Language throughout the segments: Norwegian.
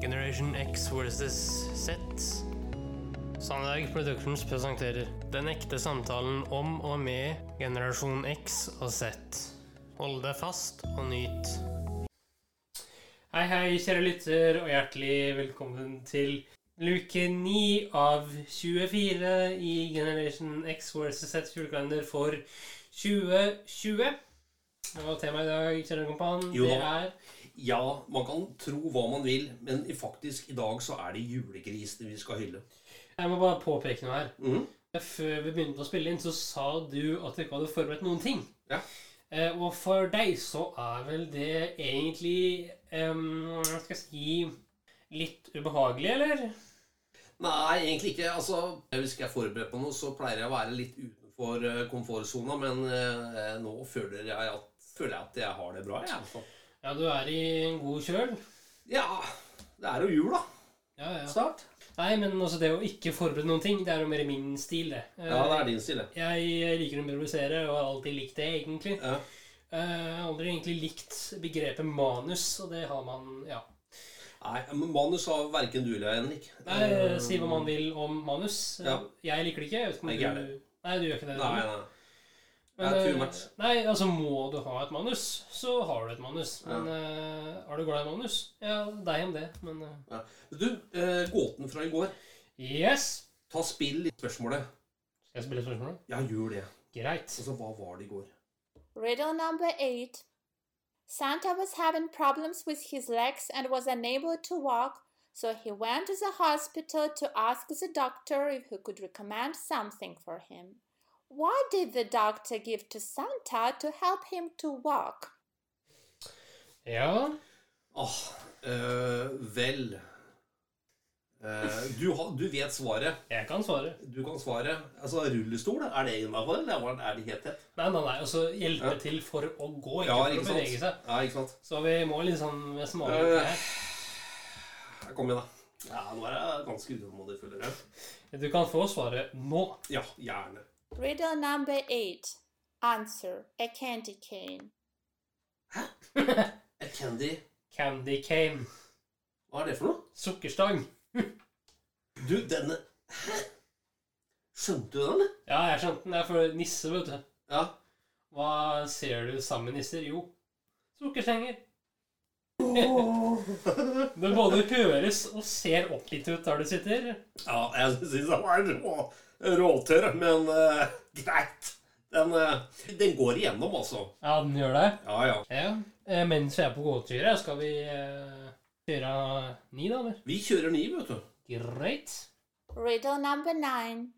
Generation X versus Z. Sandberg Productions presenterer Den ekte samtalen om og med generasjon X og Z. Hold deg fast og nyt. Hei, hei, kjære lytter, og hjertelig velkommen til luke 9 av 24 i Generation X versus Z julekalender for 2020. Og temaet i dag, kjære kompan, Jo det da. er Ja, man kan tro hva man vil, men i- faktisk i dag så er det julegrisene vi skal hylle. Jeg må bare påpeke noe her. Mhm. Før vi begynte å spille inn, så sa du at du ikke hadde forberedt noen ting. Ja. Eh, og for deg så er vel det egentlig em, Hva skal jeg si Litt ubehagelig, eller? Nei, egentlig ikke. Altså, Hvis jeg er forberedt på noe, så pleier jeg å være litt utenfor eh, komfortsona, men eh, nå føler jeg at, føler jeg, at jeg har det bra. Jeg. altså. Ja, du er i en god kjøl. Ja, det er jo jul, da. Ja, ja. Snart. Nei, men altså det å ikke forberede noen ting, det er jo mer min stil, det. Eh, Ja, det er din stil, det. Jeg liker å improvisere, og har alltid likt det, egentlig. Ja. Eh, Jeg har aldri egentlig likt begrepet manus, og det har man Ja. Nei, men manus har verken du eller jeg, Henrik. Nei, Eh, si hva man vil om manus. Ja. Jeg liker det ikke. Jeg vet Nei, ikke ikke om jeg du... Nei, du gjør ikke det. Eh, Nei, du. nei. Men, jeg tror eh, Mats. nei, altså må du ha et manus, så har du et manus. Men eh, er du glad i manus? Ja, deg om det, men eh, Du, eh, gåten fra i går. Yes! Ta spill i spørsmålet. Skal jeg spille spørsmålet? Ja, gjør det. Greit. Altså, hva var det i går? Riddle number 8 Santa was having problems with his legs and was unable to walk, so he went to the hospital to ask the doctor if he could recommend something for him. What did the doctor give to Santa to help him to walk? Ja. Åh, eh, vel Eh, du, har- du vet svaret. Jeg kan svare. Du kan svaret. Altså, rullestol, er det innafor, eller var- er det helt tett? Nei, nei, nei. Altså hjelpe Ja. til for å gå, ikke Ja, for ikke å bevege seg. sant? Ja, ikke sant? Så vi må liksom være smale Øh. litt her. Ja, Kom igjen, da. Ja, nå er jeg ganske utålmodig, føler jeg. Du kan få svaret nå. Ja, gjerne. Riddle number 8 Answer A candy cane. Eh, Candy, Candy cane. hva er det for noe? Sukkerstang. Du, denne Hæ? Skjønte du den, eller? Ja, jeg skjønte den. Det er for nisse, vet du. Ja. Hva ser du sammen med nisser? Jo, sukkersenger. Du både høres og ser oppgitt ut der du sitter. Ja, jeg syns han var rå, råtørr, men eh, greit. Den, eh, den går igjennom, altså. Ja, den gjør det. Ja, ja. Ja. Eh, mens vi er på gåturet, skal vi eh, kjøre ni, da? eller? Vi kjører ni, vet du. Greit. Riddle number 9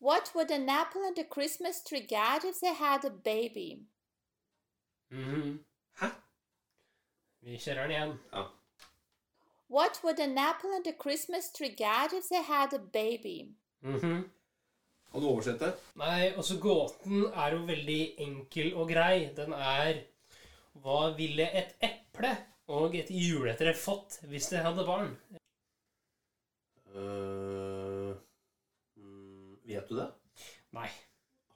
What would an apple and a Christmas tree get if they had a baby? Mhm. Hæ? Vi kjører den igjen. Ja. What would an apple and a Christmas tree get if they had a baby? Mhm. Kan du oversette? Nei, altså gåten er jo veldig enkel og grei. Den er Hva ville et eple og et juletre fått hvis de hadde barn? Eh, mm, vet du det? Nei.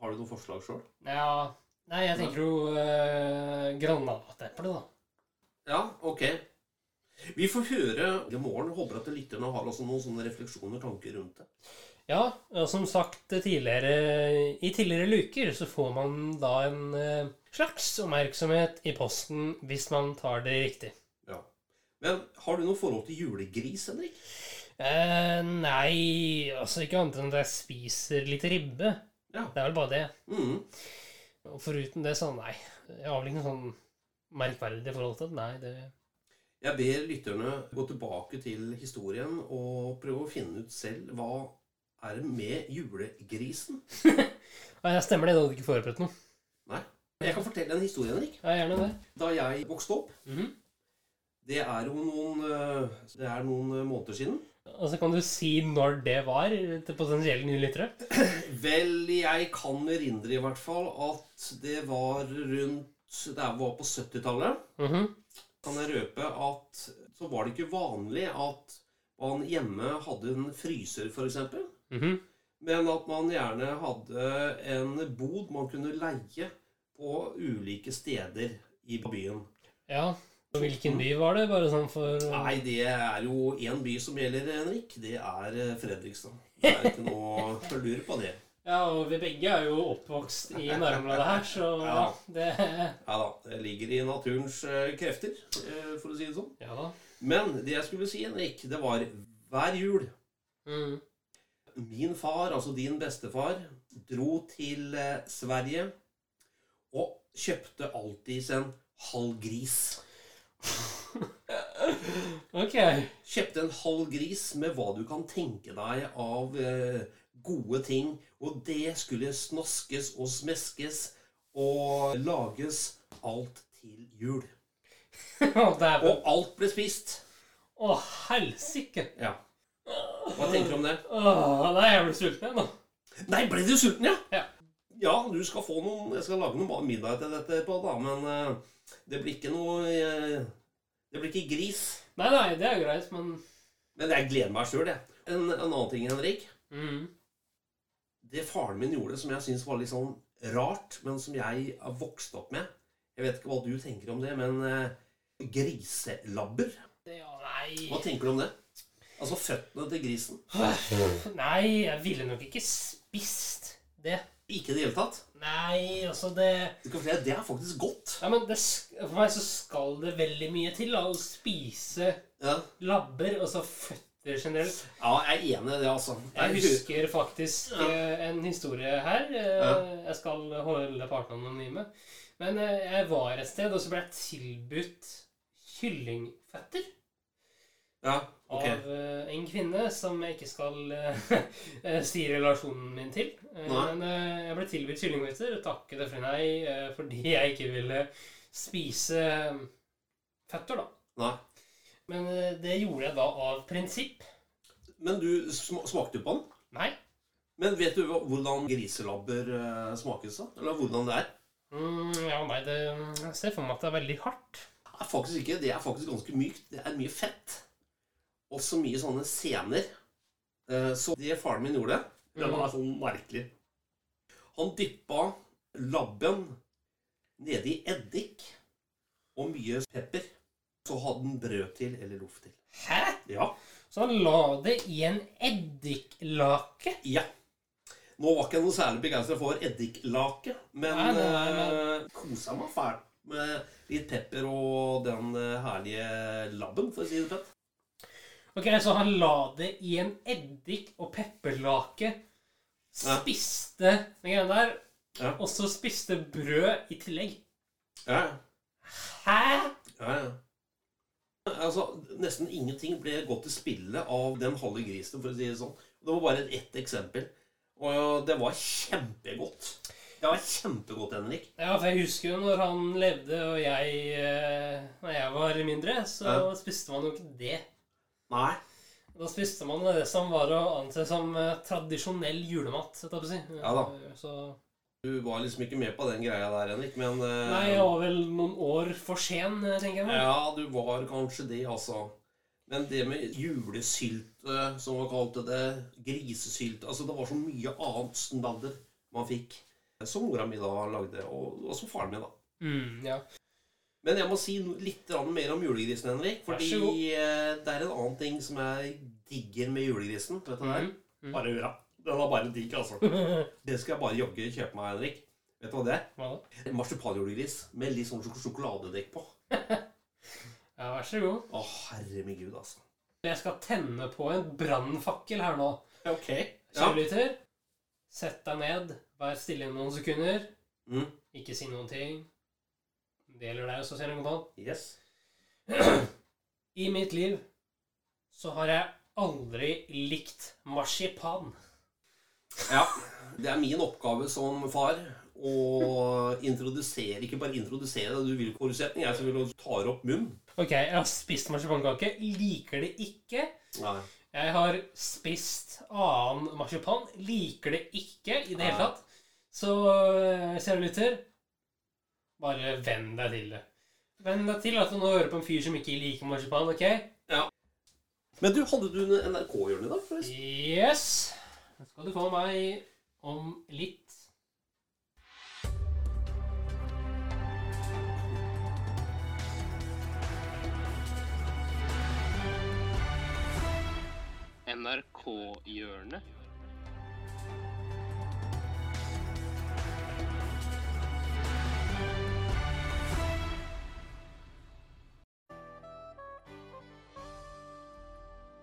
Har du noen forslag sjøl? Ja Nei, jeg tenker jo uh, granateple, da. Ja, ok. Vi får høre i morgen. Håper at lytterne har også noen sånne refleksjoner og tanker rundt det. Ja, og som sagt tidligere I tidligere luker så får man da en eh, slags oppmerksomhet i posten hvis man tar det riktig. Ja. Men har du noe forhold til julegris, Henrik? Eh, nei, altså ikke annet enn at jeg spiser litt ribbe. Ja. Det er vel bare det. Mm. Og foruten det, så nei. Jeg har vel ikke noe sånn merkverdig forhold til det. Nei, det Jeg ber lytterne gå tilbake til historien og prøve å finne ut selv hva er det med julegrisen. Nei, jeg stemmer det. Du hadde ikke forberedt noe. Nei. Jeg kan fortelle en historie, Henrik. Ja, gjerne det. Da jeg vokste opp, Mhm. det er jo noen, eh, det er noen eh, måneder siden Altså, Kan du si når det var til potensielle nye lyttere? Vel, jeg kan erindre i hvert fall at det var rundt Det var på 70-tallet. Mhm. Kan jeg røpe at så var det ikke vanlig at man hjemme hadde en fryser, f.eks. Mhm. Men at man gjerne hadde en bod man kunne leie på ulike steder i byen. Ja. Og Hvilken by var det? Bare sånn for Nei, det er jo én by som gjelder, Henrik. Det er eh, Fredrikstad. Det er ikke noe å lure på det. Ja, og vi begge er jo oppvokst i nærområdet her, så ja, Ja. det Ja da, det ligger i naturens eh, krefter, eh, for å si det sånn. Ja da. Men det jeg skulle si, Henrik, det var hver jul Mm. Min far, altså din bestefar, dro til eh, Sverige og kjøpte alltid en halv gris. Ok. Kjøpte en halv gris med hva du kan tenke deg av eh, gode ting. Og det skulle snaskes og smeskes og lages alt til jul. Å, dæven. Og alt ble spist. Å, helsike. Ja. Hva tenker du om det? Åh, nei, jeg blir sulten igjen, nå. Nei, ble du sulten, ja? Ja. Ja, du skal få noen Jeg skal lage noe middag til dette på, da, men eh, det blir ikke noe eh, Det blir ikke gris. Nei, nei, det er greit, men Men jeg gleder meg sjøl, jeg. En, en annen ting, Henrik. mm. Det faren min gjorde som jeg syns var litt sånn rart, men som jeg har vokst opp med Jeg vet ikke hva du tenker om det, men eh, griselabber det, ja, Hva nei. tenker du om det? Altså føttene til grisen. nei, jeg ville nok ikke spist det. Ikke i det hele tatt. Nei, altså det Du kan fortelle, Det er faktisk godt. Nei, men det, sk- For meg så skal det veldig mye til da, å spise Ja, labber, altså føtter generelt. ja jeg er enig i det, altså. Jeg Det er- husker faktisk eh, en historie her. eh, Ja. Jeg skal holde partene anonyme. Men eh, jeg var et sted, og så ble jeg tilbudt kyllingføtter Ja, ok. av eh, en kvinne som jeg ikke skal eh, eh, si relasjonen min til. Eh, Nei. Men eh, jeg ble tilbudt kyllingføtter og takket for nei eh, fordi jeg ikke ville spise mm, føtter, da. Nei. Men eh, det gjorde jeg da av prinsipp. Men du sm- smakte du på den? Nei. Men vet du hva- hvordan griselabber eh, smakes da? Eller hvordan det er? Mm, ja, nei, det jeg ser for meg at det er veldig hardt. Nei, faktisk ikke. Det er faktisk ganske mykt. Det er mye fett. Også mye sånne sener. Eh, Så det faren min gjorde, det var sånn merkelig. Han dyppa labben nede i eddik og mye pepper. Så hadde han brød til, eller loff til. Hæ? Ja. Så han la det i en eddiklake? Ja. Nå var ikke jeg noe særlig begeistra for eddiklake, men Nei, nei, nei, eh, kosa meg fælt med litt pepper og den eh, herlige labben, for å si det pent. Ok, så han la det i en eddik- og pepperlake. Ja. Spiste den greia der. Ja. Og så spiste brød i tillegg. Ja, Hæ? ja, ja. Altså, Nesten ingenting ble gått til spille av den halve grisen, for å si det sånn. Det var bare ett eksempel. Og eh, det var kjempegodt. Det var kjempegodt, Henrik. Ja, for jeg husker jo når han levde og jeg eh, Når jeg var mindre, så Ja. spiste man jo ikke det. Nei. Da spiste man det som var å anse som eh, tradisjonell julemat. sett opp å si. Ja da. Eh, Så, Du var liksom ikke med på den greia der, Henrik, men eh, nei, jeg var vel noen år for sen, eh, tenker jeg. meg. Ja, du var kanskje det, altså. Men det med julesylte, som man kalte det, grisesylte Altså, det var så mye annet snadder man fikk. Som mora mi da lagde, og, og som faren min, da. Mm, ja. Men jeg må si no- litt grann mer om julegrisen, Henrik. Vær Fordi så god. eh, det er en annen ting som jeg digger med julegrisen. Vet du hva Mhm. det Sånn er? Bare hurra. Den er bare digg, altså. Det skal jeg bare jogge kjøpe meg, Henrik. Vet du hva det er? Mm. Hva da? Marsipanjulegris med litt sånn sjok- sjokoladedekk på. Ja, vær så god. Å, herre min gud, altså. Jeg skal tenne på en brannfakkel her nå. Ok. Ja. Kjørelytter, sett deg ned. Vær stille i noen sekunder. Mm. Ikke si noen ting. Det gjelder deg også, Kjell Kontant. Yes. I mitt liv så har jeg aldri likt marsipan. Ja. Det er min oppgave som far å introdusere Ikke bare introdusere, du vil ikke forutsetning. Jeg som vil ta opp munnen. Ok, jeg har spist marsipankake. Liker det ikke. Nei. Jeg har spist annen marsipan. Liker det ikke i det hele Nei. tatt. Så eh, kjære lytter, bare venn deg til det. Venn deg til at du nå hører på en fyr som ikke liker marsipan, ok? Men du, hadde du en NRK-hjørne i dag, forresten? Yes! Da skal du få meg om litt. NRK-hjørnet.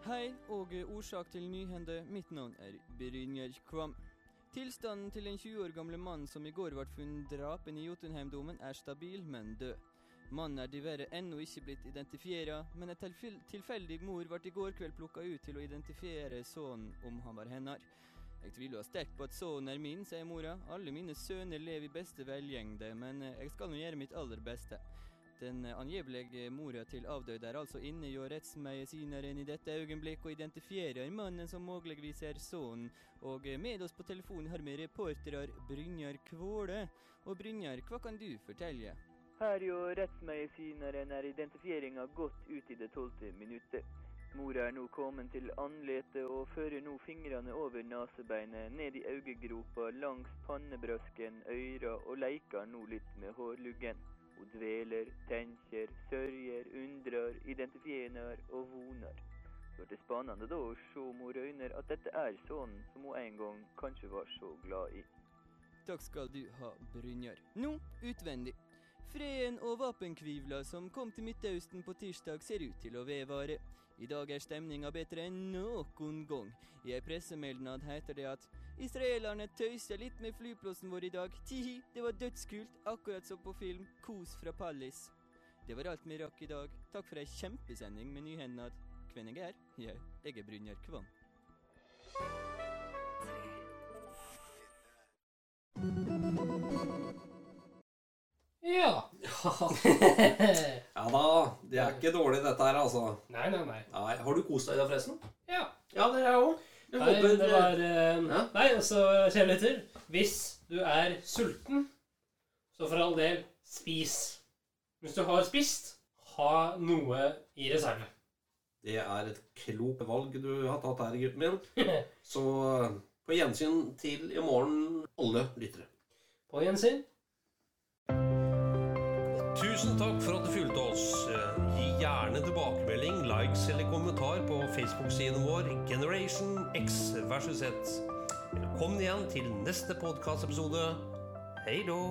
Hei og eh, årsak til nyhende. Mitt navn er Brynjar Kvam. Tilstanden til den 20 år gamle mannen som i går ble funnet drapen i Jotunheimdomen, er stabil, men død. Mannen er diverre ennå ikke blitt identifiert, men en tilfel tilfeldig mor ble i går kveld plukka ut til å identifiere sønnen om han var hennes. Jeg tviler sterkt på at sønnen er min, sier mora. Alle mine sønner lever i beste velgjengde, men eh, jeg skal nå gjøre mitt aller beste. Den angivelige mora til avdøde er altså inne hjå rettsmedisineren i dette øyeblikk og identifierer mannen som muligvis er sønnen, og med oss på telefonen har vi reporterer Brynjar Kvåle. Og Brynjar, hva kan du fortelle? Her jo rettsmedisineren er identifieringa godt ut i det tolvte minuttet. Mora er nå kommet til andletet og fører nå fingrene over nesebeinet, ned i øyegropa, langs pannebrøsken, øyra og leker nå litt med hårluggen. Hun dveler, tenker, sørger, undrer, identifierer og voner. Det blir spennende da å se om hun røyner at dette er sønnen som hun en gang kanskje var så glad i. Takk skal du ha, Brynjar. Nå utvendig. Freden og våpenkvivla som kom til Midtøsten på tirsdag, ser ut til å vedvare. I dag er stemninga bedre enn noen gang. I ei pressemeldnad heter det at israelerne tøysa litt med flyplassen vår i dag. Tihi, det var dødskult, akkurat som på film Kos fra Pallis. Det var alt vi rakk i dag. Takk for ei kjempesending med nyhendad. Hvem jeg er? Jau, jeg er Brynjar Kvam. Ja. nei, Ja da, det er ikke dårlig dette her, altså. nei, nei. Nei, har du kost deg i dag, forresten? Ja. Ja, det har jeg òg. Jeg Nei, håper det var eh, Ja. Nei, altså, kjære lytter. Hvis du er sulten, så for all del, spis. Hvis du har spist, ha noe i reserve. Det er et klokt valg du har tatt her, gutten min. Så eh, på gjensyn til i morgen, alle lyttere. På gjensyn. Tusen takk for at du fulgte oss. Eh, Gi gjerne tilbakemelding, likes eller kommentar på Facebook-siden vår Generation X versus Z. Velkommen igjen til neste podkastepisode. Hei då!